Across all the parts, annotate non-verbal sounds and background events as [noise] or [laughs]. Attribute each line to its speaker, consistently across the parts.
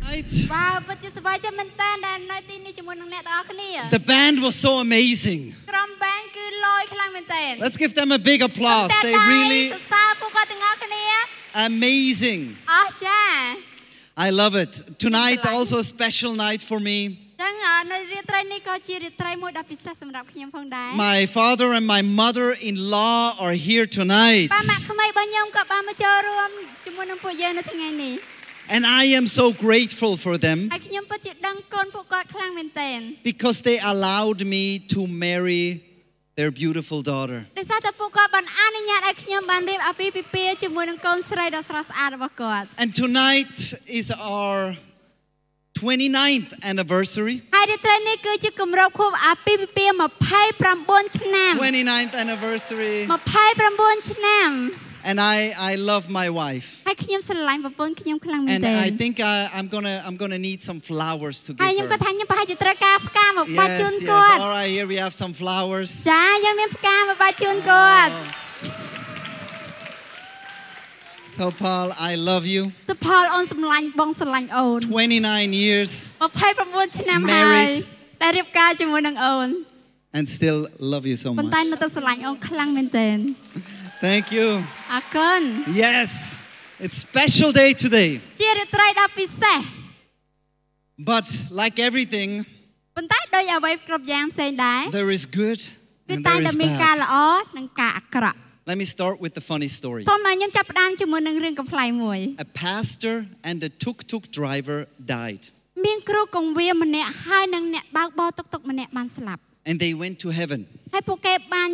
Speaker 1: tonight.
Speaker 2: វ៉ាវពិតជាសប្បាយចិត្តមែនតើដែលនៅទីនេះជាមួយនឹងអ្នកទាំងអស់គ្នា
Speaker 1: The band was so amazing.
Speaker 2: ក្រុមបាងគឺលយខ្លាំងមែនតើ
Speaker 1: Let's give them a big applause. They
Speaker 2: តែដៃ
Speaker 1: really
Speaker 2: សរសើរពួកគាត់ទាំងអស់គ្នា
Speaker 1: amazing.
Speaker 2: អស្ចារ្យ
Speaker 1: I love it. Tonight also a special night for me.
Speaker 2: អញ្ចឹងនៅរាត្រីនេះក៏ជារាត្រីមួយដ៏ពិសេសសម្រាប់ខ្ញុំផងដែរ
Speaker 1: My father and my mother-in-law are here tonight.
Speaker 2: បាទម៉ាក់ក្មៃរបស់ខ្ញុំក៏បានមកចូលរួមជាមួយនឹងពួកយើងនៅថ្ងៃនេះ
Speaker 1: And I am so grateful for them
Speaker 2: ហើយខ្ញុំពិតជាដឹងគុណពួកគាត់ខ្លាំងមែនទែន
Speaker 1: because they allowed me to marry their beautiful daughter.
Speaker 2: ដោយសារតែពួកគាត់បានអនុញ្ញាតឲ្យខ្ញុំបានរៀបអាពាហ៍ពិពាហ៍ជាមួយនឹងកូនស្រីដ៏ស្រស់ស្អាតរបស់គាត់
Speaker 1: And tonight is our 29th anniversary.
Speaker 2: ហើយរាត្រីនេះគឺជាគម្រប់ខួបអាពាហ៍ពិពាហ៍29ឆ្នាំ
Speaker 1: 29th anniversary.
Speaker 2: 29ឆ្នាំ
Speaker 1: And I, I love my wife.
Speaker 2: ហើយខ្ញុំស្រឡាញ់ប្រពន្ធខ្ញុំខ្លាំងមែន
Speaker 1: And
Speaker 2: ទែ
Speaker 1: I
Speaker 2: ន
Speaker 1: think I, I'm gonna I'm gonna need some flowers to
Speaker 2: ហើយខ្ញុំ
Speaker 1: give
Speaker 2: ក៏
Speaker 1: her.
Speaker 2: ថាខ្ញុំប្រហែលជាត្រូវការផ្កាមកបាច់
Speaker 1: Yes,
Speaker 2: ជូន
Speaker 1: yes.
Speaker 2: គាត់
Speaker 1: All right, here we have some flowers.
Speaker 2: ចាយើងមានផ្កាមកបាច់ជូនគាត់
Speaker 1: So Paul, I love you.
Speaker 2: ទៅផលអូនសម្លាញ់បងសម្លាញ់អូន
Speaker 1: 29 years
Speaker 2: 29ឆ្នាំហើយ
Speaker 1: Married.
Speaker 2: តែរៀបការជាមួយនឹងអូន
Speaker 1: and still love you so
Speaker 2: ប៉ុន្តែ
Speaker 1: much.
Speaker 2: នៅតែស្រឡាញ់អូនខ្លាំងមែនទែន
Speaker 1: Thank you.
Speaker 2: អរគុណ
Speaker 1: Yes, it's special day today.
Speaker 2: ជារាត្រីដ៏ពិសេស
Speaker 1: But like everything,
Speaker 2: ប៉ុន្តែដោយអ្វីគ្រប់យ៉ាងផ្សេងដែរ
Speaker 1: there is good
Speaker 2: គឺ
Speaker 1: and
Speaker 2: តែង
Speaker 1: there
Speaker 2: តែ
Speaker 1: is
Speaker 2: មានការ
Speaker 1: bad.
Speaker 2: ល្អនិងការអាក្រក់
Speaker 1: Let me start with the funny story.
Speaker 2: សូមឲ្យខ្ញុំចាប់ផ្ដើមជាមួយនឹងរឿងកំ pl ៃមួយ
Speaker 1: A pastor and a tuk-tuk driver died,
Speaker 2: មានគ្រូកងវាម្នាក់ហើយនិងអ្នកបើកបរតុកតុកម្នាក់បានស្លាប់
Speaker 1: and they went to heaven.
Speaker 2: ហើយពួកគេបាន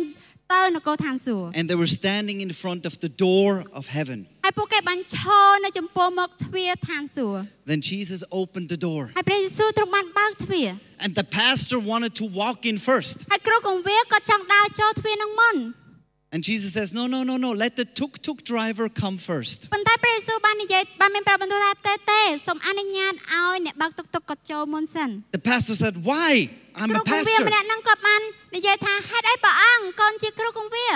Speaker 2: ទៅនគរឋានសួគ៌
Speaker 1: and they were standing in front of the door of heaven.
Speaker 2: ហើយពួកគេបានឈរនៅចំពោះមុខទ្វារឋានសួគ៌
Speaker 1: Then Jesus opened the door,
Speaker 2: ហើយព្រះយេស៊ូវទ្រង់បានបើកទ្វារ
Speaker 1: and the pastor wanted to walk in first.
Speaker 2: ហើយគ្រូកងវាក៏ចង់ដើរចូលទ្វារនឹងមុន
Speaker 1: And Jesus says, No, no, no, no, let the tuk tuk driver come first.
Speaker 2: ប៉ុន្តែព្រះយេស៊ូវបាននិយាយបានមានប្រាប់បន្ទូលថាទេទេសូមអនុញ្ញាតឲ្យអ្នកបើកតុកតុកគាត់ចូលមុនសិន
Speaker 1: The pastor said, Why? I'm
Speaker 2: គ្រូ
Speaker 1: a
Speaker 2: កងវា
Speaker 1: pastor.
Speaker 2: ម្នាក់ហ្នឹងក៏បាននិយាយថាហេតុអីព្រះអង្គកូនជាគ្រូកងវា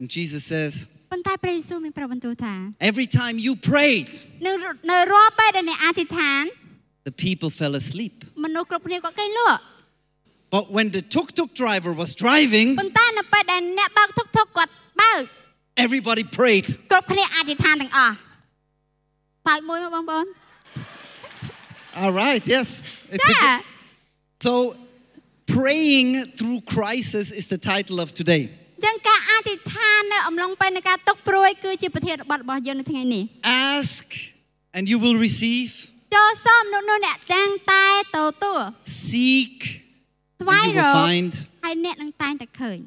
Speaker 1: And Jesus says,
Speaker 2: ប៉ុន្តែព្រះយេស៊ូវមានប្រាប់បន្ទូលថា
Speaker 1: Every time you prayed,
Speaker 2: នៅនៅរាល់ពេលដែលអ្នកអធិដ្ឋាន
Speaker 1: the people fell asleep.
Speaker 2: មនុស្សគ្រប់គ្នាគាត់គេងលក់
Speaker 1: But when the tuk tuk driver was driving,
Speaker 2: ប៉ុន្តែនៅពេលដែលអ្នកបើកតុកតុកគាត់បើក
Speaker 1: everybody prayed.
Speaker 2: គ្រប់គ្នាអធិដ្ឋានទាំងអស់បើកមួយមកបងប្អូន
Speaker 1: All right, yes. It's
Speaker 2: ចា
Speaker 1: a good- So, praying through crisis is the title of today.
Speaker 2: អញ្ចឹងការអធិដ្ឋាននៅអំឡុងពេលនៃការຕົកព្រួយគឺជាប្រធានបទរបស់យើងនៅថ្ងៃនេះ
Speaker 1: Ask and you will receive.
Speaker 2: ចូលសូមនោះនោះអ្នកទាំងតែទទួល
Speaker 1: Seek
Speaker 2: ស្វែង
Speaker 1: and you
Speaker 2: រ
Speaker 1: will
Speaker 2: ក
Speaker 1: find.
Speaker 2: ហើយអ្នកនឹងតែងតែឃើញ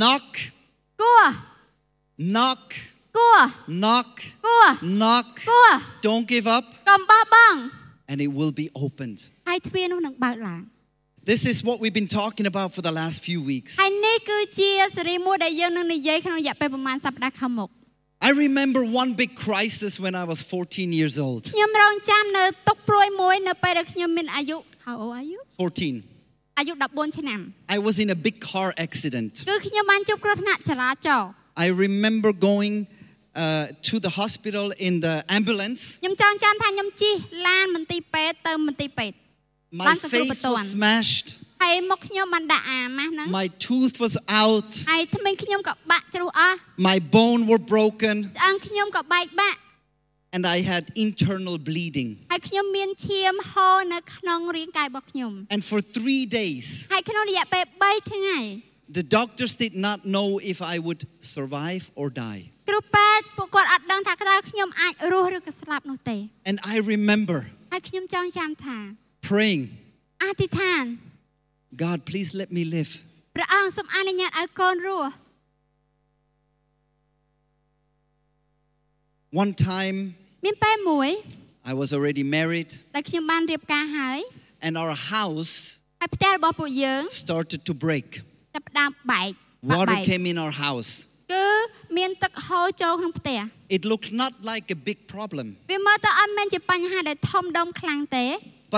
Speaker 1: Knock,
Speaker 2: គួរ
Speaker 1: knock,
Speaker 2: គួរ
Speaker 1: knock,
Speaker 2: គួរ
Speaker 1: knock.
Speaker 2: គួរ
Speaker 1: Don't give up
Speaker 2: កុំបោះបង់
Speaker 1: and it will be opened.
Speaker 2: ហើយទ្វារនោះនឹងបើកឡើង
Speaker 1: This is what we've been talking about for the last few weeks.
Speaker 2: ហើយនេះគឺជាសេរីមួយដែលយើងនឹងនិយាយក្នុងរយៈពេលប្រហែលសប្តាហ៍ខាងមុខ
Speaker 1: I remember one big crisis when I was 14 years old.
Speaker 2: ខ្ញុំរងចាំនៅទុកព្រួយមួយនៅពេលដែលខ្ញុំមានអាយុ How old are you
Speaker 1: 14.
Speaker 2: អាយុ14ឆ្នាំ
Speaker 1: I was in a big car accident.
Speaker 2: គឺខ្ញុំបានជួបគ្រោះថ្នាក់ចរាចរណ៍
Speaker 1: I remember going uh, to the hospital in the ambulance.
Speaker 2: ខ្ញុំចង់ចាំថាខ្ញុំជិះឡានមន្ទីរពេទ្យទៅមន្ទីរពេទ្យ
Speaker 1: My
Speaker 2: Lanza Club
Speaker 1: face was
Speaker 2: Batuan.
Speaker 1: smashed.
Speaker 2: ហើយមុខខ្ញុំបានដាក់អាម៉ាស់ហ្នឹង
Speaker 1: My tooth was out.
Speaker 2: ហើយថ្មីខ្ញុំក៏បាក់ជ្រុះអស់
Speaker 1: My bone were broken.
Speaker 2: ឆ្អឹងខ្ញុំក៏បែកបាក់
Speaker 1: and I had internal bleeding.
Speaker 2: ហើយខ្ញុំមានឈាមហូរនៅក្នុងរាងកាយរបស់ខ្ញុំ
Speaker 1: And for three days,
Speaker 2: ហើយក្នុងរយៈពេល3ថ្ងៃ
Speaker 1: the doctors did not know if I would survive or die.
Speaker 2: គ្រូពេទ្យពួកគាត់អត់ដឹងថាតើខ្ញុំអាចរស់ឬក៏ស្លាប់នោះទេ
Speaker 1: And I remember
Speaker 2: ហើយខ្ញុំចង់ចាំថា
Speaker 1: praying,
Speaker 2: អធិដ្ឋាន
Speaker 1: God, please let me live.
Speaker 2: ព្រះអង្គសូមអនុញ្ញាតឲ្យកូនរស់
Speaker 1: One time,
Speaker 2: មានពេលមួយ
Speaker 1: I was already married,
Speaker 2: ដែលខ្ញុំបានរៀបការហើយ
Speaker 1: and our house
Speaker 2: ហើយផ្ទះរបស់ពួកយើង
Speaker 1: started to break.
Speaker 2: ចាប់ផ្ដើមបែកបាក់
Speaker 1: Water
Speaker 2: បែក
Speaker 1: came in our house.
Speaker 2: គឺមានទឹកហូរចូលក្នុងផ្ទះ
Speaker 1: It looked not like a big problem,
Speaker 2: វាមើលទៅអត់មែនជាបញ្ហាដែលធំដុំខ្លាំងទេ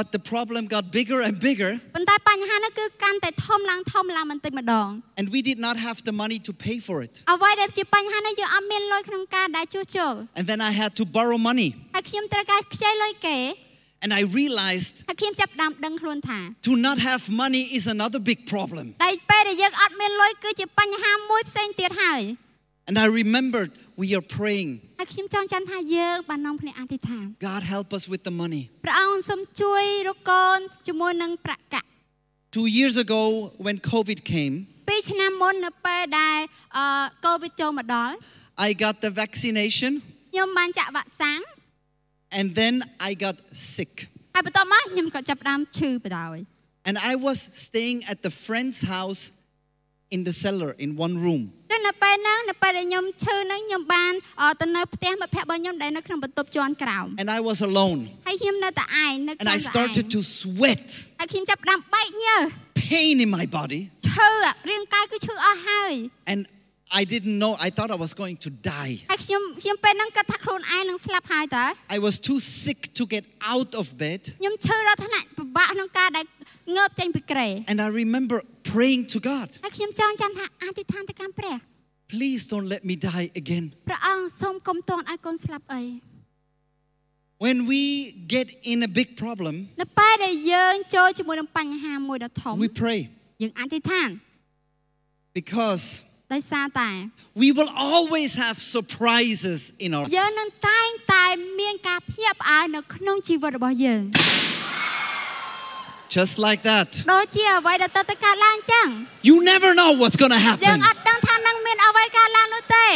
Speaker 1: but the problem got bigger and bigger,
Speaker 2: ប៉ុន្តែបញ្ហានោះគឺកាន់តែធំឡើងធំឡើងបន្តិចម្ដង
Speaker 1: and we did not have the money to pay for it.
Speaker 2: អ្វីដែលជាបញ្ហានោះយើងអត់មានលុយក្នុងការដែលជួសជុល
Speaker 1: And then I had to borrow money.
Speaker 2: ហើយខ្ញុំត្រូវការខ្ចីលុយគេ
Speaker 1: And I realized
Speaker 2: ហើយខ្ញុំចាប់ផ្ដើមដឹងខ្លួនថា
Speaker 1: to not have money is another big problem.
Speaker 2: តែពេលដែលយើងអត់មានលុយគឺជាបញ្ហាមួយផ្សេងទៀតហើយ
Speaker 1: And I remembered we are praying,
Speaker 2: ហើយខ្ញុំចង់ចាំថាយើងបាននាំគ្នាអធិដ្ឋាន
Speaker 1: God help us with the money.
Speaker 2: ព្រះអង្គសូមជួយរកកូនជាមួយនឹងប្រាក់កាក់
Speaker 1: Two years ago, when COVID came,
Speaker 2: ពីរឆ្នាំមុននៅពេលដែលអឺកូវីដចូលមកដល់
Speaker 1: I got the vaccination
Speaker 2: ខ្ញុំបានចាក់វ៉ាក់សាំង
Speaker 1: and then I got sick.
Speaker 2: ហើយបន្ទាប់មកខ្ញុំក៏ចាប់ផ្ដើមឈឺបណ្ដោយ
Speaker 1: And I was staying at the friend's house in the cellar in one room.
Speaker 2: ដល់នៅពេលហ្នឹងនៅពេលដែលខ្ញុំឈឺហ្នឹងខ្ញុំបានអឺទៅនៅផ្ទះមិត្តភក្តិរបស់ខ្ញុំដែលនៅក្នុងបន្ទប់ជាន់ក្រោម
Speaker 1: And I was alone.
Speaker 2: ហើយខ្ញុំនៅតែឯងនៅក្នុង
Speaker 1: And I
Speaker 2: តែឯងហើយ
Speaker 1: started to sweat,
Speaker 2: ខ្ញុំចាប់ផ្ដើមបែកញើស
Speaker 1: pain in my body.
Speaker 2: ឈឺអារាងកាយគឺឈឺអស់ហើយ
Speaker 1: And I didn't know, I thought I was going to die.
Speaker 2: ហើយខ្ញុំខ្ញុំពេលហ្នឹងគិតថាខ្លួនឯងនឹងស្លាប់ហើយតើ
Speaker 1: I was too sick to get out of bed.
Speaker 2: ខ្ញុំឈឺដល់ថ្នាក់ពិបាកក្នុងការដែលងើបចេញពីក្រេ
Speaker 1: And I remember praying to God,
Speaker 2: ហើយខ្ញុំចង់ចាំថាអធិដ្ឋានទៅកាន់ព្រះ
Speaker 1: please don't let me die again.
Speaker 2: ព្រះអង្គសូមកុំទាន់ឲ្យកូនស្លាប់អី
Speaker 1: When we get in a big problem,
Speaker 2: នៅពេលដែលយើងចូលជាមួយនឹងបញ្ហាមួយដ៏ធំ
Speaker 1: we pray
Speaker 2: យើងអធិដ្ឋាន
Speaker 1: because
Speaker 2: ដោយសារតែ
Speaker 1: we will always have surprises in our
Speaker 2: យើងនឹងតែងតែមានការភ្ញាក់ផ្អើលនៅក្នុងជីវិតរបស់យើង
Speaker 1: just like that.
Speaker 2: ដូចជាអ្វីដែលទៅទៅកើតឡើងចឹង
Speaker 1: You never know what's going to
Speaker 2: យើង
Speaker 1: happen.
Speaker 2: អត់ដឹងថានឹងមានអ្វីកើតឡើងនោះទេ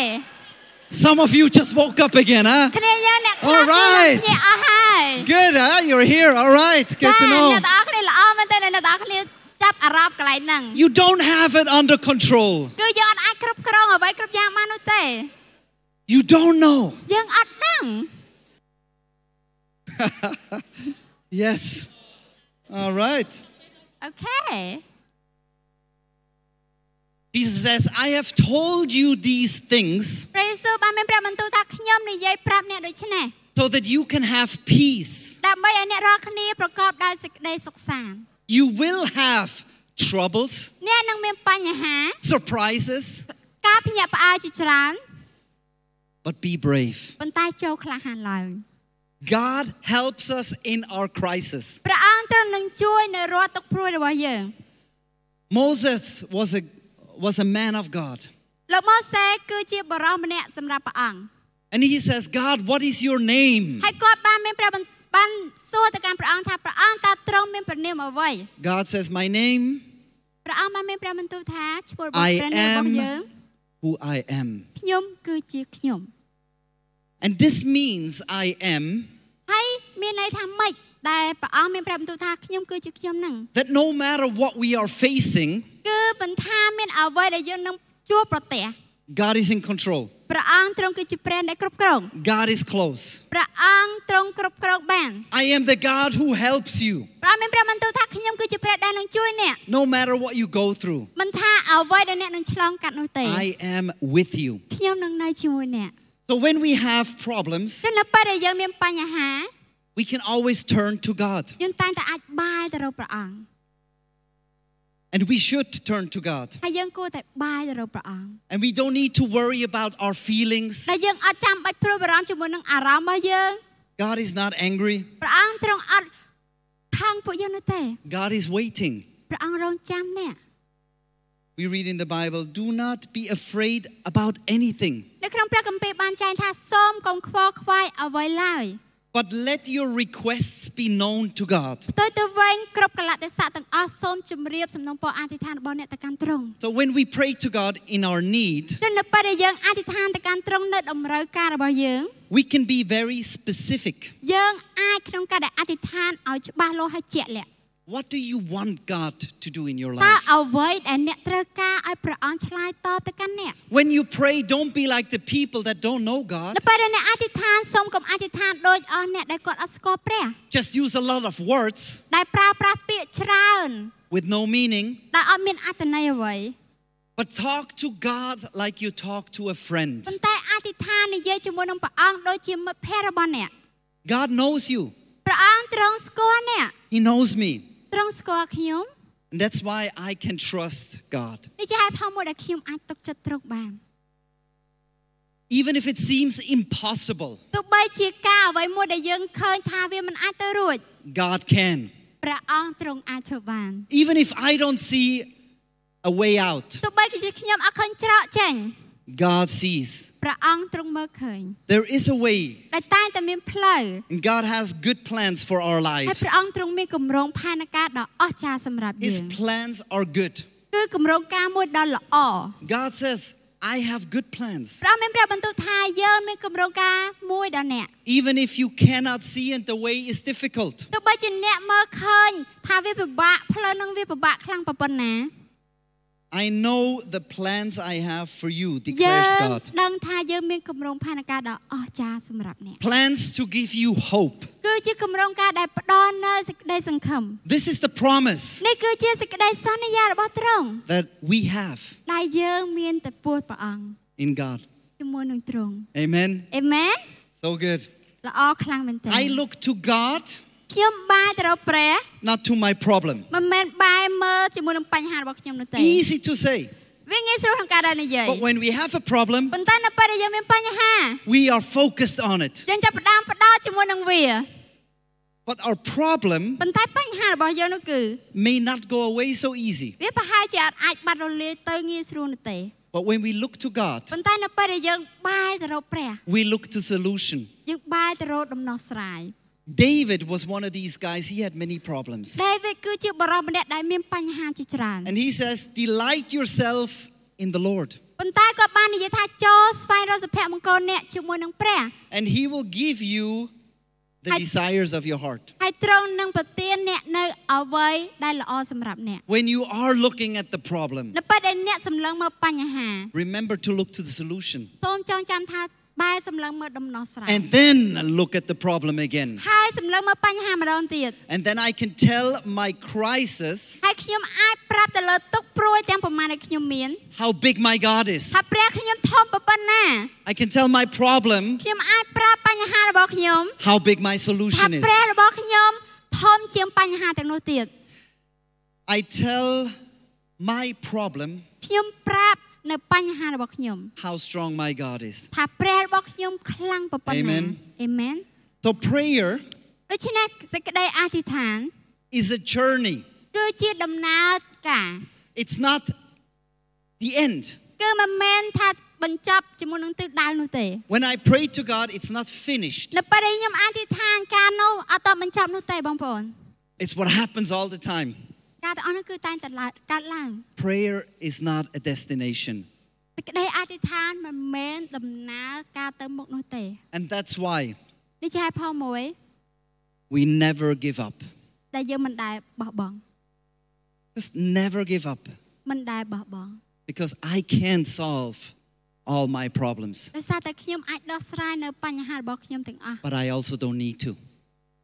Speaker 1: Some of you just woke up again, huh?
Speaker 2: គ្នាយើងអ្នកខ្លះ
Speaker 1: All
Speaker 2: គឺ
Speaker 1: right.
Speaker 2: ភ្ញាក់អស់ហើយ
Speaker 1: Good, huh? You're here. All right.
Speaker 2: ចា
Speaker 1: Good to
Speaker 2: អ្នក
Speaker 1: know.
Speaker 2: ទាំងអស់គ្នាល្អមែនទែនអ្នកទាំងអស់គ្នាចាប់អារម្មណ៍កន្លែងហ្នឹង
Speaker 1: You don't have it under control.
Speaker 2: គឺយើងអត់អាចគ្រប់គ្រងអ្វីគ្រប់យ៉ាងបាននោះទេ
Speaker 1: You don't know.
Speaker 2: យើងអត់ដឹង
Speaker 1: Yes. All right.
Speaker 2: អូខេ
Speaker 1: Jesus says, I have told you these things
Speaker 2: ព្រះយេស៊ូវបានមានព្រះបន្ទូលថាខ្ញុំនិយាយប្រាប់អ្នកដូចនេះ
Speaker 1: so that you can have peace.
Speaker 2: ដើម្បីឲ្យអ្នករាល់គ្នាប្រកបដោយសេចក្តីសុខសាន្ត
Speaker 1: You will have troubles,
Speaker 2: អ្នកនឹងមានបញ្ហា
Speaker 1: surprises,
Speaker 2: ការភ្ញាក់ផ្អើលជាច្រើន
Speaker 1: but be brave.
Speaker 2: ប៉ុន្តែចូលក្លាហានឡើង
Speaker 1: God helps us in our crisis.
Speaker 2: ព្រះអង្គទ្រង់នឹងជួយនៅរាល់ទុក្ខព្រួយរបស់យើង
Speaker 1: Moses was a, was a man of God.
Speaker 2: លោកម៉ូសេគឺជាបរិសម្នាក់សម្រាប់ព្រះអង្គ
Speaker 1: And he says, God, what is your name?
Speaker 2: ហើយគាត់បានមានព្រះបន្បានសួរទៅកាន់ព្រះអង្គថាព្រះអង្គតើទ្រង់មានព្រះនាមអ្វី
Speaker 1: God says, My name,
Speaker 2: ព្រះអង្គបានមានព្រះបន្ទូលថាឈ្មោះរបស់
Speaker 1: I
Speaker 2: ព្រះនាមរបស់
Speaker 1: am
Speaker 2: យើង
Speaker 1: who I am.
Speaker 2: ខ្ញុំគឺជាខ្ញុំ
Speaker 1: And this means I am
Speaker 2: ហើយមានន័យថាម៉េចដែលព្រះអង្គមានព្រះបន្ទូលថាខ្ញុំគឺជាខ្ញុំហ្នឹង
Speaker 1: that no matter what we are facing,
Speaker 2: គឺមិនថាមានអ្វីដែលយើងនឹងជួបប្រទះ
Speaker 1: God is in control.
Speaker 2: ព្រះអង្គទ្រង់គឺជាព្រះដែលគ្រប់គ្រង
Speaker 1: God is close.
Speaker 2: ព្រះអង្គទ្រង់គ្រប់គ្រងបាន
Speaker 1: I am the God who helps you
Speaker 2: ព្រះអង្គមានព្រះបន្ទូលថាខ្ញុំគឺជាព្រះដែលនឹងជួយអ្នក
Speaker 1: no matter what you go through.
Speaker 2: មិនថាអ្វីដែលអ្នកនឹងឆ្លងកាត់នោះទេ
Speaker 1: I am with you.
Speaker 2: ខ្ញុំនឹងនៅជាមួយអ្នក
Speaker 1: So when we have problems,
Speaker 2: គឺនៅពេលដែលយើងមានបញ្ហា
Speaker 1: we can always turn to God.
Speaker 2: យើងតែងតែអាចបាយទៅរកព្រះអង្គ
Speaker 1: And we should turn to God.
Speaker 2: ហើយយើងគួរតែបាយទៅរកព្រះអង្គ
Speaker 1: And we don't need to worry about our feelings.
Speaker 2: ដែលយើងអត់ចាំបាច់ព្រួយបារម្ភជាមួយនឹងអារម្មណ៍របស់យើង
Speaker 1: God is not angry.
Speaker 2: ព្រះអង្គទ្រង់អត់ខាងពួកយើងនោះទេ
Speaker 1: God is waiting.
Speaker 2: ព្រះអង្គរងចាំអ្នក
Speaker 1: We read in the Bible, do not be afraid about anything,
Speaker 2: នៅក្នុងព្រះគម្ពីរបានចែងថាសូមកុំខ្វល់ខ្វាយអ្វីឡើយ
Speaker 1: but let your requests be known to God.
Speaker 2: ផ្ទុយទៅវិញគ្រប់កលៈទេសៈទាំងអស់សូមជម្រាបសំណូមពរអធិដ្ឋានរបស់អ្នកទៅកាន់ទ្រង់
Speaker 1: So when we pray to God in our need,
Speaker 2: ចឹងនៅពេលដែលយើងអធិដ្ឋានទៅកាន់ទ្រង់នៅតម្រូវការរបស់យើង
Speaker 1: we can be very specific.
Speaker 2: យើងអាចក្នុងការដែលអធិដ្ឋានឲ្យច្បាស់លាស់ហើយជាក់លាក់
Speaker 1: What do you want God to do in your
Speaker 2: តើ
Speaker 1: life?
Speaker 2: អ្វីដែលអ្នកត្រូវការឲ្យព្រះអង្គឆ្លើយតបទៅកាន់អ្នក
Speaker 1: When you pray, don't be like the people that don't know God.
Speaker 2: នៅពេលដែលអ្នកអធិដ្ឋានសូមកុំអធិដ្ឋានដូចអស់អ្នកដែលគាត់អត់ស្គាល់ព្រះ
Speaker 1: Just use a lot of words
Speaker 2: ដែលប្រើប្រាស់ពាក្យច្រើន
Speaker 1: with no meaning,
Speaker 2: ដែលអត់មានអត្ថន័យអ្វី
Speaker 1: but talk to God like you talk to a friend.
Speaker 2: ប៉ុន្តែអធិដ្ឋាននិយាយជាមួយនឹងព្រះអង្គដូចជាមិត្តភក្តិរបស់អ្នក
Speaker 1: God knows you,
Speaker 2: ព្រះអង្គទ្រង់ស្គាល់អ្នក
Speaker 1: He knows me.
Speaker 2: ទ្រង់ស្គាល់ខ្ញុំ
Speaker 1: And that's why I can trust God.
Speaker 2: នេះជាហេតុផលមួយដែលខ្ញុំអាចទុកចិត្តទ្រង់បាន
Speaker 1: even if it seems impossible,
Speaker 2: ទោះបីជាការអ្វីមួយដែលយើងឃើញថាវាមិនអាចទៅរួច
Speaker 1: God can.
Speaker 2: ព្រះអង្គទ្រង់អាចធ្វើបាន
Speaker 1: Even if I don't see a way out,
Speaker 2: ទោះបីជាខ្ញុំអត់ឃើញច្រកចេញ
Speaker 1: God sees.
Speaker 2: ព្រះអង្គទ្រង់មើលឃើញ
Speaker 1: There is a way,
Speaker 2: ដែលតែងតែមានផ្លូវ
Speaker 1: and God has good plans for our
Speaker 2: ហើយ
Speaker 1: lives.
Speaker 2: ព្រះអង្គទ្រង់មានគម្រោងផែនការដ៏អស្ចារ្យសម្រាប់យើ
Speaker 1: His
Speaker 2: ង
Speaker 1: plans are good.
Speaker 2: គឺគម្រោងការមួយដ៏ល្អ
Speaker 1: God says, I have good plans.
Speaker 2: ព្រះអង្គមានប្រាប់បន្ទូលថាយើងមានគម្រោងការមួយដល់អ្នក
Speaker 1: Even if you cannot see and the way is difficult,
Speaker 2: ទោះបីជាអ្នកមើលឃើញថាវាពិបាកផ្លូវនឹងវាពិបាកខ្លាំងប៉ុណ្ណា
Speaker 1: I know the plans I have for you,
Speaker 2: យើ
Speaker 1: declares
Speaker 2: ង
Speaker 1: God.
Speaker 2: ដឹងថាយើងមានគម្រោងផែនការដ៏អស្ចារ្យសម្រាប់អ្នក
Speaker 1: Plans to give you hope.
Speaker 2: គឺជាគម្រោងការដែលផ្ដល់នូវសេចក្តីសង្ឃឹម
Speaker 1: This is the promise
Speaker 2: នេះគឺជាសេចក្តីសន្យារបស់ទ្រង់
Speaker 1: that we have
Speaker 2: ដែលយើងមានតែពួរព្រះអង្គ
Speaker 1: in God.
Speaker 2: ជាមួយនឹងទ្រង់
Speaker 1: Amen.
Speaker 2: អេមែន
Speaker 1: So good.
Speaker 2: ល្អខ្លាំងមែនទែន
Speaker 1: I look to God,
Speaker 2: ខ្ញុំបាយទៅរកព្រះ
Speaker 1: not to my problem.
Speaker 2: មិនមែនបាយមើលជាមួយនឹងបញ្ហារបស់ខ្ញុំនោះទេ
Speaker 1: Easy to say.
Speaker 2: វាងាយស្រួលក្នុងការដែលនិយាយ
Speaker 1: But when we have a problem,
Speaker 2: ប៉ុន្តែនៅពេលដែលយើងមានបញ្ហា
Speaker 1: we are focused on it.
Speaker 2: យើងចាប់ផ្ដើមផ្ដោតជាមួយនឹងវា
Speaker 1: But our problem
Speaker 2: ប៉ុន្តែបញ្ហារបស់យើងនោះគឺ
Speaker 1: may not go away so easy.
Speaker 2: វាប្រហែលជាអត់អាចបាត់រលាយទៅងាយស្រួលនោះទេ
Speaker 1: But when we look to God,
Speaker 2: ប៉ុន្តែនៅពេលដែលយើងបាយទៅរកព្រះ
Speaker 1: we look to solution.
Speaker 2: យើងបាយទៅរកដំណោះស្រាយ
Speaker 1: David was one of these guys. He had many problems.
Speaker 2: ដាវីតគឺជាបរិសម្នាក់ដែលមានបញ្ហាជាច្រើន
Speaker 1: And he says, Delight yourself in the Lord,
Speaker 2: ប៉ុន្តែគាត់បាននិយាយថាចូលស្វែងរកសុភមង្គលអ្នកជាមួយនឹងព្រះ
Speaker 1: and he will give you the
Speaker 2: I-
Speaker 1: desires of your heart.
Speaker 2: ហើយទ្រង់នឹងប្រទានអ្នកនៅអ្វីដែលល្អសម្រាប់អ្នក
Speaker 1: When you are looking at the problem,
Speaker 2: នៅពេលដែលអ្នកសម្លឹងមើលបញ្ហា
Speaker 1: remember to look to the solution
Speaker 2: សូមចងចាំថាបែរសម្លឹងមើលដំណោះស្រាយ
Speaker 1: and then look at the problem again.
Speaker 2: ហើយសម្លឹងមើលបញ្ហាម្ដងទៀត
Speaker 1: And then I can tell my crisis
Speaker 2: ហើយខ្ញុំអាចប្រាប់ទៅលើទុកព្រួយទាំងប្រមាណដែលខ្ញុំមាន
Speaker 1: how big my God is.
Speaker 2: ថាព្រះខ្ញុំធំប៉ុណ្ណា
Speaker 1: I can tell my problem
Speaker 2: ខ្ញុំអាចប្រាប់បញ្ហារបស់ខ្ញុំ
Speaker 1: how big my
Speaker 2: ថា
Speaker 1: solution is.
Speaker 2: ព្រះរបស់ខ្ញុំធំជាងបញ្ហាទាំងនោះទៀត
Speaker 1: I tell my problem
Speaker 2: ខ្ញុំប្រាប់នៅបញ្ហារបស់ខ្ញុំ
Speaker 1: how strong my God is.
Speaker 2: ថាព្រះរបស់ខ្ញុំខ្លាំងប៉ុណ្ណា
Speaker 1: Amen.
Speaker 2: អេមែន
Speaker 1: So prayer
Speaker 2: ដូច្នេះសេចក្តីអធិដ្ឋាន
Speaker 1: is a journey.
Speaker 2: គឺជាដំណើរការ
Speaker 1: It's not the end.
Speaker 2: គឺមិនមែនថាបញ្ចប់ជាមួយនឹងទិសដៅនោះទេ
Speaker 1: When I pray to God, it's not finished.
Speaker 2: នៅពេលដែលខ្ញុំអធិដ្ឋានការនោះអត់តបញ្ចប់នោះទេបងប្អូន
Speaker 1: It's what happens all the time.
Speaker 2: ការទាំងអស់នោះគឺតែងតែឡើងកើតឡើង
Speaker 1: Prayer is not a destination.
Speaker 2: សេចក្តីអធិដ្ឋានមិនមែនដំណើរការទៅមុខនោះទេ
Speaker 1: And that's why
Speaker 2: នេះជាហេតុផលមួយ
Speaker 1: we never give up.
Speaker 2: ដែលយើងមិនដែលបោះបង់
Speaker 1: Just never give up.
Speaker 2: មិនដែលបោះបង់
Speaker 1: Because I can solve all my problems,
Speaker 2: ដោយសារតែខ្ញុំអាចដោះស្រាយនៅបញ្ហារបស់ខ្ញុំទាំងអស់
Speaker 1: but I also don't need to.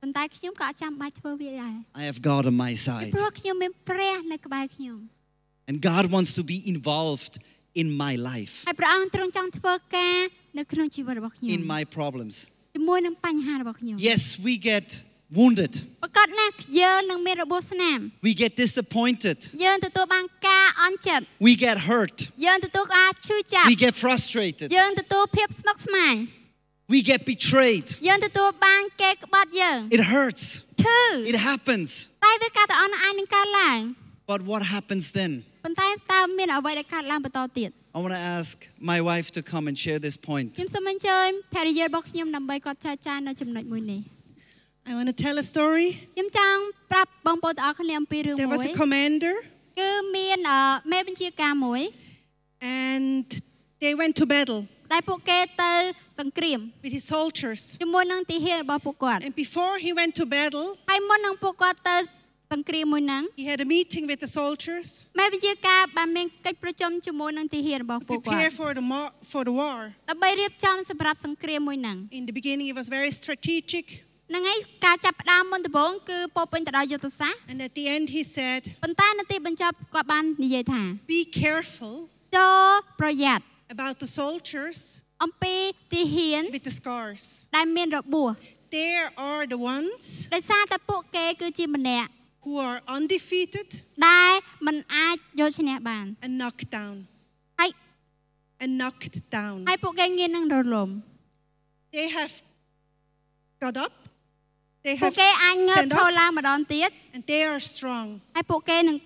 Speaker 2: ប៉ុន្តែខ្ញុំក៏អត់ចាំបាច់ធ្វើវាដែរ
Speaker 1: I have God on my side.
Speaker 2: ព្រោះខ្ញុំមានព្រះនៅក្បែរខ្ញុំ
Speaker 1: And God wants to be involved in my life,
Speaker 2: ហើយព្រះអង្គទ្រង់ចង់ធ្វើការនៅក្នុងជីវិតរបស់ខ្ញុំ
Speaker 1: in my problems.
Speaker 2: ជាមួយនឹងបញ្ហារបស់ខ្ញុំ
Speaker 1: Yes, we get wounded,
Speaker 2: ប្រកាសណាស់យើងនឹងមានរបួសស្នាម
Speaker 1: we get disappointed,
Speaker 2: យើងទទួលបានការអន់ចិត្ត
Speaker 1: we get hurt,
Speaker 2: យើងទទួលការឈឺចាប់
Speaker 1: we get frustrated,
Speaker 2: យើងទទួលភាពស្មុគស្មាញ
Speaker 1: we get betrayed.
Speaker 2: យើងទទួលបានគេក្បត់យើង
Speaker 1: It hurts,
Speaker 2: ឈឺ
Speaker 1: it happens.
Speaker 2: តែវាការទាំងអស់នោះអាចនឹងកើតឡើង
Speaker 1: But what happens then?
Speaker 2: ប៉ុន្តែតើមានអ្វីដែលកើតឡើងបន្តទៀត
Speaker 1: I want to ask my wife to come and share this point.
Speaker 2: ខ្ញុំសូមអញ្ជើញភរិយារបស់ខ្ញុំដើម្បីគាត់ចែកចាយនៅចំណុចមួយនេះ
Speaker 3: I want to tell a story.
Speaker 2: ខ្ញុំចង់ប្រាប់បងប្អូនទាំងអស់គ្នាអំពីរឿង
Speaker 3: There
Speaker 2: មួ
Speaker 3: was
Speaker 2: យ
Speaker 3: a commander,
Speaker 2: គឺមានអឺមេបញ្ជាការមួយ
Speaker 3: and they went to battle
Speaker 2: ដែលពួកគេទៅសង្គ្រាម
Speaker 3: with his soldiers.
Speaker 2: ជាមួយនឹងទីហ៊ានរបស់ពួកគាត់
Speaker 3: And before he went to battle,
Speaker 2: ហើយមុននឹងពួកគាត់ទៅសង្គ្រាមមួយហ្នឹង
Speaker 3: he had a meeting with the soldiers
Speaker 2: មេបញ្ជាការបានមានកិច្ចប្រជុំជាមួយនឹងទីហ៊ានរបស់
Speaker 3: to
Speaker 2: ពួកគាត់
Speaker 3: prepare for the, mar- for the war.
Speaker 2: ដើម្បីរៀបចំសម្រាប់សង្គ្រាមមួយហ្នឹង
Speaker 3: In the beginning, it was very strategic,
Speaker 2: ហ្នឹងហើយការចាប់ផ្ដើមមុនដំបូងគឺពោរពេញទៅដោយយុទ្ធសាស្ត្រ
Speaker 3: and at the end, he said,
Speaker 2: ប៉ុន្តែនៅទីបញ្ចប់គាត់បាននិយាយថា
Speaker 3: Be careful
Speaker 2: ចូលប្រយ័ត្ន
Speaker 3: about the soldiers
Speaker 2: អំពីទីហ៊ាន
Speaker 3: with the scars.
Speaker 2: ដែលមានរបួស
Speaker 3: They are the ones
Speaker 2: ដោយសារតែពួកគេគឺជាម្នាក់
Speaker 3: who are undefeated
Speaker 2: ដែលមិនអាចយកឈ្នះបាន
Speaker 3: and knocked down.
Speaker 2: ហើយ
Speaker 3: and knocked down.
Speaker 2: ហើយពួកគេងាយនឹងរលំ
Speaker 3: They have got up, they
Speaker 2: ពួក
Speaker 3: have
Speaker 2: គេអាចងើប
Speaker 3: stand
Speaker 2: ឈរ
Speaker 3: up,
Speaker 2: ឡើងម្ដងទៀត
Speaker 3: and they are strong.
Speaker 2: ហើយពួកគេនឹង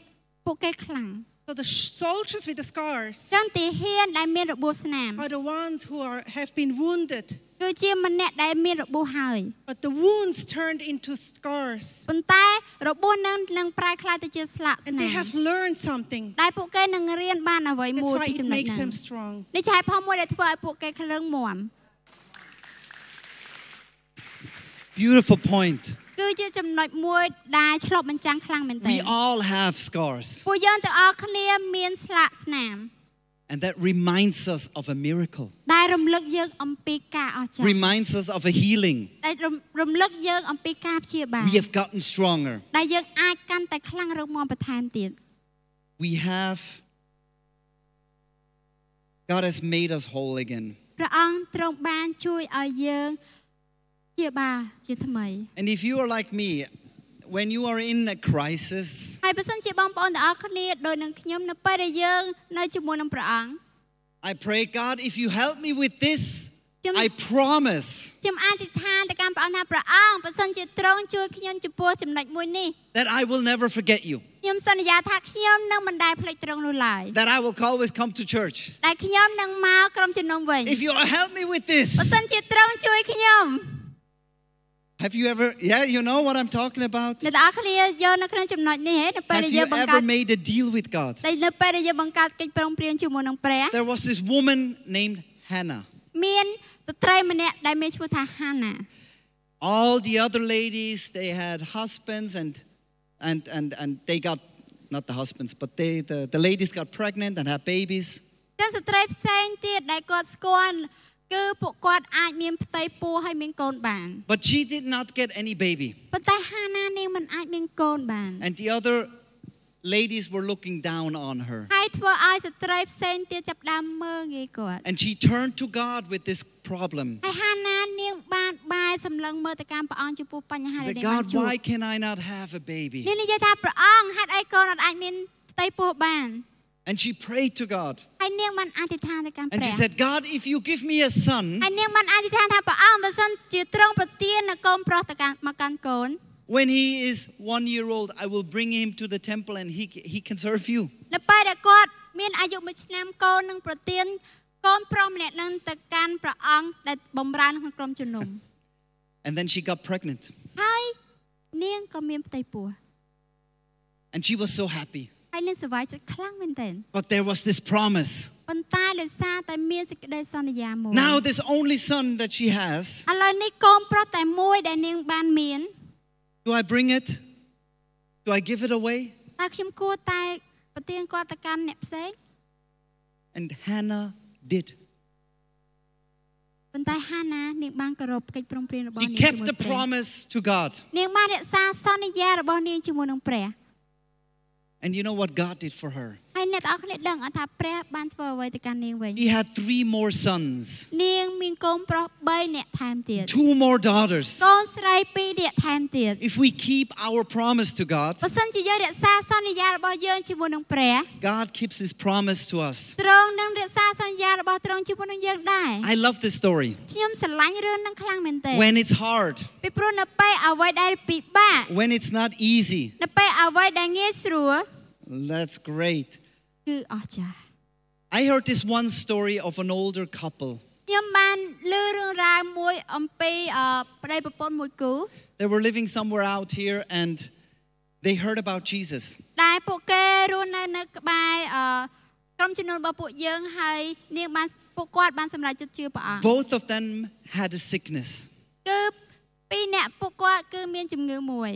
Speaker 2: ពួកគេខ្លាំង
Speaker 3: So the sh- soldiers with the scars
Speaker 2: ចឹងទាហានដែលមានរបួសស្នាម
Speaker 3: are the ones who are, have been wounded,
Speaker 2: គឺជាម្នាក់ដែលមានរបួសហើយ
Speaker 3: but the wounds turned into scars.
Speaker 2: ប៉ុន្តែរបួសនឹងនឹងប្រែក្លាយទៅជាស្លាក
Speaker 3: And
Speaker 2: ស្នា
Speaker 3: they
Speaker 2: ម
Speaker 3: have learned something.
Speaker 2: ដែលពួកគេនឹងរៀនបានអ្វី
Speaker 3: That's
Speaker 2: មួយ
Speaker 3: why
Speaker 2: ពី
Speaker 3: it
Speaker 2: ចំណុច
Speaker 3: makes
Speaker 2: ហ្នឹង
Speaker 3: them strong.
Speaker 2: នេះជាហេតុផលមួយដែលធ្វើឲ្យពួកគេក្លឹងមាំ
Speaker 1: Beautiful point.
Speaker 2: គឺជាចំណុចមួយដែលឆ្លុះបញ្ចាំងខ្លាំងមែនទែ
Speaker 1: We
Speaker 2: ន
Speaker 1: all have scars,
Speaker 2: ពួកយើងទាំងអស់គ្នាមានស្លាកស្នាម
Speaker 1: and that reminds us of a miracle,
Speaker 2: ដែលរំលឹកយើងអំពីការអស្ចារ្យ
Speaker 1: reminds us of a healing.
Speaker 2: ដែលរំរំលឹកយើងអំពីការព្យាបាល
Speaker 1: We have gotten stronger.
Speaker 2: ដែលយើងអាចកាន់តែខ្លាំងរឹងមាំបន្ថែមទៀត
Speaker 1: We have. God has made us whole again.
Speaker 2: ព្រះអង្គទ្រង់បានជួយឲ្យយើងព្យាបាលជាថ្មី
Speaker 1: And if you are like me, when you are in a crisis,
Speaker 2: ហើយបើសិនជាបងប្អូនទាំងអស់គ្នាដូចនឹងខ្ញុំនៅពេលដែលយើងនៅជាមួយនឹងព្រះអង្គ
Speaker 1: I pray, God, if you help me with this,
Speaker 2: Jim-
Speaker 1: I promise
Speaker 2: ខ្ញុំអធិដ្ឋានទៅកាន់ព្រះអង្គថាព្រះអង្គបើសិនជាទ្រង់ជួយខ្ញុំចំពោះចំណុចមួយនេះ
Speaker 1: that I will never forget you,
Speaker 2: ខ្ញុំសន្យាថាខ្ញុំនឹងមិនដែលភ្លេចទ្រង់នោះឡើយ
Speaker 1: that I will always come to church.
Speaker 2: ដែលខ្ញុំនឹងមកក្រុមជំនុំវិញ
Speaker 1: If you help me with
Speaker 2: បើ
Speaker 1: this,
Speaker 2: សិនជាទ្រង់ជួយខ្ញុំ
Speaker 1: have you ever, yeah, you know what I'm talking about?
Speaker 2: អ្នកនរគ្នាយកនៅក្នុងចំណុចនេះហ៎នៅពេល
Speaker 1: Have
Speaker 2: ដែលយើ
Speaker 1: you
Speaker 2: ងបង្កើត
Speaker 1: ever made a deal with God?
Speaker 2: តែនៅពេលដែលយើងបង្កើតកិច្ចប្រឹងប្រែងជាមួយនឹងព្រះ
Speaker 1: There was this woman named Hannah.
Speaker 2: មានស្ត្រីម្នាក់ដែលមានឈ្មោះថាហាណា
Speaker 1: All the other ladies, they had husbands and, and, and, and they got, not the husbands, but they, the, the ladies got pregnant and had babies.
Speaker 2: ចឹងស្ត្រីផ្សេងទៀតដែលគាត់ស្គាល់គឺពួកគាត់អាចមានផ្ទៃពោះហើយមានកូនបាន
Speaker 1: But she did not get any baby.
Speaker 2: ប៉ុន្តែហាណានាងមិនអាចមានកូនបាន
Speaker 1: And the other ladies were looking down on her.
Speaker 2: ហើយធ្វើឲ្យស្ត្រីផ្សេងទៀតចាប់ផ្ដើមមើលងាយគាត់
Speaker 1: And she turned to God with this problem.
Speaker 2: ហើយហាណានាងបានបែរសម្លឹងមើលទៅកាន់ព្រះអង្គចំពោះបញ្ហា
Speaker 1: She said,
Speaker 2: ដែលនាងបាន
Speaker 1: God,
Speaker 2: ជួប
Speaker 1: why can I not have a
Speaker 2: នា
Speaker 1: baby?
Speaker 2: ងនិយាយថាព្រះអង្គហេតុអីកូនអត់អាចមានផ្ទៃពោះបាន
Speaker 1: And she prayed to God.
Speaker 2: ហើយនាងបានអធិដ្ឋានទៅកាន់ព្រះ
Speaker 1: And she said, God, if you give me a son,
Speaker 2: ហើយនាងបានអធិដ្ឋានថាព្រះអង្គបើសិនជាទ្រង់ប្រទាននូវកូនប្រុសទៅកាន់មកកាន់កូន
Speaker 1: when he is one year old, I will bring him to the temple and he, he can serve you.
Speaker 2: នៅពេលដែលគាត់មានអាយុ1ឆ្នាំកូននឹងប្រទានកូនប្រុសម្នាក់នឹងទៅកាន់ព្រះអង្គដែលបំរើនៅក្នុងក្រុមជំ
Speaker 1: [laughs]
Speaker 2: នុំ
Speaker 1: And then she got pregnant.
Speaker 2: ហើយនាងក៏មានផ្ទៃពោះ
Speaker 1: And she was so happy.
Speaker 2: ហើយនាងសប្បាយចិត្តខ្លាំងមែនទែន
Speaker 1: But there was this promise.
Speaker 2: ប៉ុន្តែដោយសារតែមានសេចក្តីសន្យាមួយ
Speaker 1: Now, this only son that she has,
Speaker 2: ឥឡូវនេះកូនប្រុសតែមួយដែលនាងបានមាន
Speaker 1: do I bring it? Do I give it away?
Speaker 2: តើខ្ញុំគួរតែប្រទានគាត់ទៅកាន់អ្នកផ្សេង
Speaker 1: And Hannah did.
Speaker 2: ប៉ុន្តែហាណានាងបានគោរពកិច្ចព្រមព្រៀងរបស់
Speaker 1: She
Speaker 2: នាង
Speaker 1: kept
Speaker 2: ជាមួយ
Speaker 1: the
Speaker 2: ព្រះ
Speaker 1: promise to God.
Speaker 2: នាងបានរក្សាសន្យារបស់នាងជាមួយនឹងព្រះ
Speaker 1: And you know what God did for her?
Speaker 2: ហើយអ្នកទាំងអស់គ្នាដឹងអត់ថាព្រះបានធ្វើអ្វីទៅកាន់នាងវិញ
Speaker 1: She had three more sons,
Speaker 2: នាងមានកូនប្រុស3នាក់ថែមទៀត
Speaker 1: two more daughters.
Speaker 2: កូនស្រី2នាក់ថែមទៀត
Speaker 1: If we keep our promise to God,
Speaker 2: បើសិនជាយើងរក្សាសន្យារបស់យើងជាមួយនឹងព្រះ
Speaker 1: God keeps his promise to us.
Speaker 2: ទ្រង់នឹងរក្សាសន្យារបស់ទ្រង់ជាមួយនឹងយើងដែរ
Speaker 1: I love this story.
Speaker 2: ខ្ញុំស្រឡាញ់រឿងហ្នឹងខ្លាំងមែនទែន
Speaker 1: When it's hard,
Speaker 2: ពីព្រោះនៅពេលអ្វីដែលពិបាក
Speaker 1: when it's not easy,
Speaker 2: នៅពេលអ្វីដែលងាយស្រួល
Speaker 1: that's great.
Speaker 2: គឺអស្ចារ្យ
Speaker 1: I heard this one story of an older couple.
Speaker 2: ខ្ញុំបានលើរឿងរ៉ាវមួយអំពីអឺប្តីប្រពន្ធមួយគូ
Speaker 1: They were living somewhere out here and they heard about Jesus.
Speaker 2: ដែលពួកគេរស់នៅនៅក្បែរអឺក្រុមជំនុំរបស់ពួកយើងហើយនាងបានពួកគាត់បានសម្រេចចិត្តជឿព្រះអង្គ
Speaker 1: Both of them had a sickness
Speaker 2: គឺពីរអ្នកពួកគាត់គឺមានជំងឺមួយ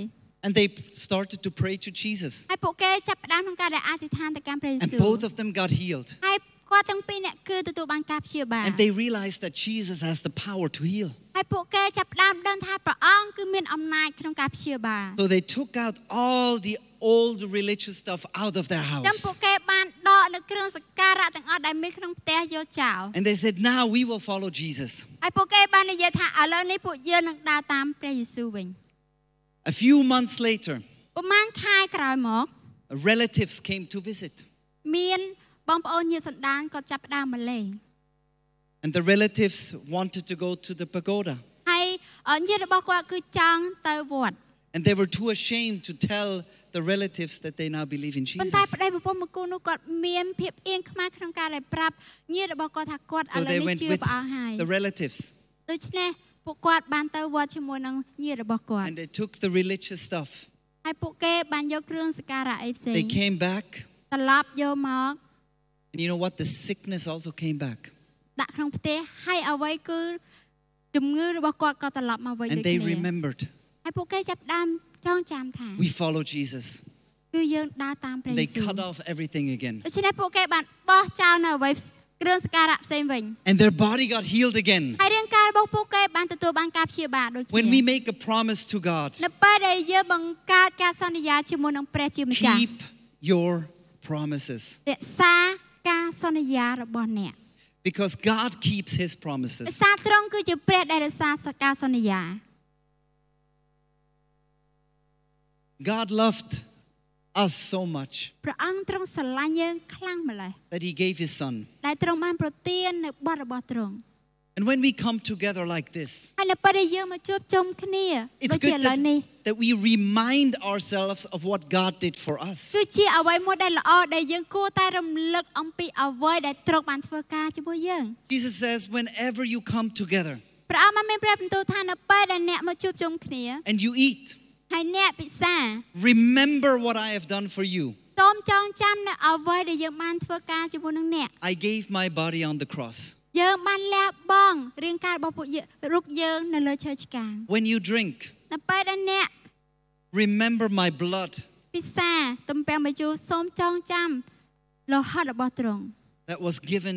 Speaker 1: and they started to pray to Jesus.
Speaker 2: ហើយពួកគេចាប់ផ្ដើមក្នុងការដែលអធិដ្ឋានទៅកាន់ព្រះយេ
Speaker 1: And
Speaker 2: ស៊ូវ
Speaker 1: both of them got healed.
Speaker 2: ហើយគាត់ទាំងពីរអ្នកគឺទទួលបានការព្យាបាល
Speaker 1: And they realized that Jesus has the power to heal.
Speaker 2: ហើយពួកគេចាប់ផ្ដើមដឹងថាព្រះអង្គគឺមានអំណាចក្នុងការព្យាបាល
Speaker 1: So they took out all the old religious stuff out of their
Speaker 2: ចាំពួក
Speaker 1: house.
Speaker 2: គេបានដកនៅគ្រឿងសក្ការៈទាំងអស់ដែលមានក្នុងផ្ទះយកចោល
Speaker 1: And they said, Now we will follow Jesus.
Speaker 2: ហើយពួកគេបាននិយាយថាឥឡូវនេះពួកយើងនឹងដើរតាមព្រះយេស៊ូវវិញ
Speaker 1: A few months later,
Speaker 2: ប្រហែលខែក្រោយមក
Speaker 1: relatives came to visit.
Speaker 2: មានបងប្អូនញាតិសន្តានគាត់ចាប់ផ្ដើមមកលេង
Speaker 1: And the relatives wanted to go to the pagoda.
Speaker 2: ហើយអឺញាតិរបស់គាត់គឺចង់ទៅវត្ត
Speaker 1: And they were too ashamed to tell the relatives that they now believe in
Speaker 2: ប៉ុន្តែ
Speaker 1: Jesus.
Speaker 2: ប្តីប្រពន្ធមួយគូនោះគាត់មានភាពអៀងខ្មាស់ក្នុងការដែលប្រាប់ញាតិរបស់គាត់ថាគាត់ឥ
Speaker 1: So
Speaker 2: ឡូវ
Speaker 1: they
Speaker 2: នេះ
Speaker 1: went
Speaker 2: ជឿ
Speaker 1: with
Speaker 2: ព្រះអង្គហើយ
Speaker 1: the relatives
Speaker 2: ដូច្នេះពួកគាត់បានទៅវត្តជាមួយនឹងញាតិរបស់គាត់
Speaker 1: and they took the religious stuff.
Speaker 2: ហើយពួកគេបានយកគ្រឿងសក្ការៈអីផ្សេ
Speaker 1: They
Speaker 2: ង
Speaker 1: came back,
Speaker 2: ត្រឡប់យកមក
Speaker 1: and you know what? The sickness also came back.
Speaker 2: ដាក់ក្នុងផ្ទះហើយអ្វីគឺជំងឺរបស់គាត់ក៏ត្រឡប់មកវិញដូច
Speaker 1: And
Speaker 2: គ្នា
Speaker 1: they remembered,
Speaker 2: ហើយពួកគេចាប់ផ្ដើមចងចាំថា
Speaker 1: we follow Jesus.
Speaker 2: គឺយើងដើរតាមព្រះយេ
Speaker 1: They
Speaker 2: ស៊ូវ
Speaker 1: cut off everything again.
Speaker 2: ដូច្នេះពួកគេបានបោះចោលនៅអ្វីគ្រឿងសក្ការៈផ្សេងវិញ
Speaker 1: And their body got healed again.
Speaker 2: ហើយរាងកាយរបស់ពួកគេបានទទួលបានការព្យាបាលដូច
Speaker 1: When
Speaker 2: គ្នា
Speaker 1: we make a promise to God,
Speaker 2: នៅពេលដែលយើងបង្កើតការសន្យាជាមួយនឹងព្រះជាម្ចាស់
Speaker 1: keep your promises
Speaker 2: រក្សាការសន្យារបស់អ្នក
Speaker 1: because God keeps his
Speaker 2: ដោយ
Speaker 1: promises.
Speaker 2: សារត្រង់គឺជាព្រះដែលរក្សាសការសន្យា
Speaker 1: God loved us so much
Speaker 2: ព្រះអង្គទ្រង់ស្រឡាញ់យើងខ្លាំងម្ល៉េះ
Speaker 1: that he gave his son.
Speaker 2: ដែលទ្រង់បានប្រទាននៅបទរបស់ទ្រង់
Speaker 1: And when we come together like this,
Speaker 2: ហើយនៅពេលដែលយើងមកជួបជុំគ្នាដូ
Speaker 1: it's
Speaker 2: ចជា
Speaker 1: good
Speaker 2: ឥឡូវនេះ
Speaker 1: that, that we remind ourselves of what God did for us.
Speaker 2: គឺជាអ្វីមួយដែលល្អដែលយើងគួរតែរំលឹកអំពីអ្វីដែលទ្រង់បានធ្វើការជាមួយយើង
Speaker 1: Jesus says, whenever you come together
Speaker 2: ព្រះអង្គបានមានព្រះបន្ទូលថានៅពេលដែលអ្នកមកជួបជុំគ្នា
Speaker 1: and you eat,
Speaker 2: ហើយអ្នកពិសា
Speaker 1: remember what I have done for you.
Speaker 2: សូមចងចាំនៅអ្វីដែលយើងបានធ្វើការជាមួយនឹងអ្នក
Speaker 1: I gave my body on the cross.
Speaker 2: យើងបានលះបង់រាងកាយរបស់ពួកយើងរុកយើងនៅលើឈើឆ្កាង
Speaker 1: When you drink,
Speaker 2: នៅពេលដែលអ្នក
Speaker 1: remember my blood
Speaker 2: ពិសាទំពាំងបាយជូរសូមចងចាំលោហិតរបស់ទ្រង់
Speaker 1: that was given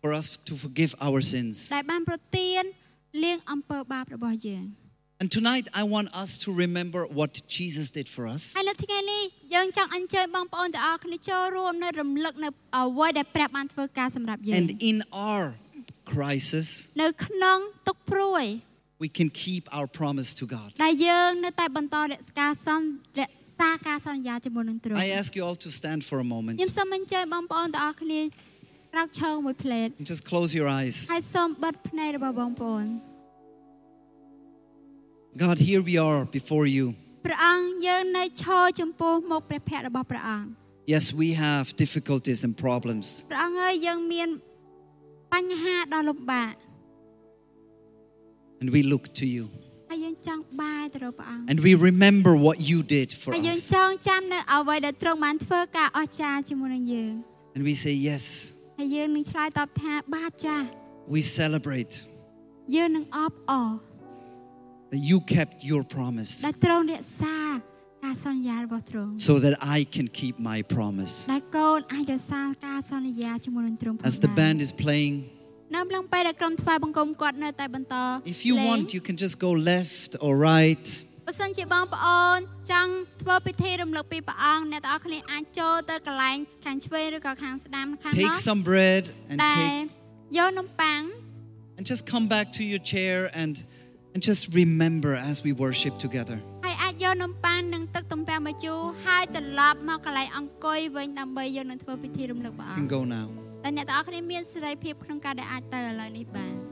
Speaker 1: for us to forgive our sins.
Speaker 2: ដែលបានប្រទានលាងអំពើបាបរបស់យើង
Speaker 1: And tonight, I want us to remember what Jesus did for us.
Speaker 2: ហើយនៅថ្ងៃនេះយើងចង់អញ្ជើញបងប្អូនទាំងអស់គ្នាចូលរួមនៅរំលឹកនៅអ្វីដែលព្រះបានធ្វើការសម្រាប់យើង
Speaker 1: And in our crisis,
Speaker 2: នៅក្នុងទុកព្រួយ
Speaker 1: we can keep our promise to God.
Speaker 2: ដែលយើងនៅតែបន្តរក្សាការសន្យារក្សាការសន្យាជាមួយនឹងទ្រង់
Speaker 1: I ask you all to stand for a moment
Speaker 2: ខ្ញុំសូមអញ្ជើញបងប្អូនទាំងអស់គ្នាក្រោកឈរមួយផ្លែត
Speaker 1: and just close your eyes.
Speaker 2: ហើយសូមបិទភ្នែករបស់បងប្អូន
Speaker 1: God, here we are before you.
Speaker 2: ព្រះអង្គយើងនៅឈរចំពោះមុខព្រះភ័ក្ត្ររបស់ព្រះអង្គ
Speaker 1: Yes, we have difficulties and problems,
Speaker 2: ព្រះអង្គហើយយើងមានបញ្ហាដ៏លំបាក
Speaker 1: and we look to you.
Speaker 2: ហើយយើងចង់បាយទៅរកព្រះអង្គ
Speaker 1: And we remember what you did for
Speaker 2: ហើយយើង
Speaker 1: us.
Speaker 2: ចងចាំនៅអ្វីដែលទ្រង់បានធ្វើការអស្ចារ្យជាមួយនឹងយើង
Speaker 1: And we say, Yes,
Speaker 2: ហើយយើងនឹងឆ្លើយតបថាបាទចាស់
Speaker 1: we celebrate
Speaker 2: យើងនឹងអបអរ
Speaker 1: that you kept your promise
Speaker 2: ដែលទ្រង់រក្សាការសន្យារបស់ទ្រង់
Speaker 1: so that I can keep my promise.
Speaker 2: ដែលកូនអាចរក្សាការសន្យាជាមួយនឹងទ្រង់ផង
Speaker 1: As the
Speaker 2: ដែរ
Speaker 1: band is playing,
Speaker 2: នៅឡងពេលដែលក្រុមថ្វាយបង្គំគាត់នៅតែបន្ត
Speaker 1: if you
Speaker 2: លេង
Speaker 1: want, you can just go left or right.
Speaker 2: បើសិនជាបងប្អូនចង់ធ្វើពិធីរំលឹកពីព្រះអង្គអ្នកទាំងអស់គ្នាអាចចូលទៅកន្លែងខាងឆ្វេងឬក៏ខាងស្ដាំខាងណោ
Speaker 1: Take
Speaker 2: ះ
Speaker 1: some bread and
Speaker 2: ដែល
Speaker 1: take
Speaker 2: យកនំប៉័ង
Speaker 1: and just come back to your chair and and just remember as we worship together
Speaker 2: ហើយអាចយកនំប៉័ងនិងទឹកទំពាំងបាយជូរហើយត្រឡប់មកកន្លែងអង្គុយវិញដើម្បីយើងនឹងធ្វើពិធីរំលឹកព្រះ
Speaker 1: you
Speaker 2: អង្គ
Speaker 1: can go now
Speaker 2: តែអ្នកទាំងអស់គ្នាមានសេរីភាពក្នុងការដែលអាចទៅឥឡូវនេះបាន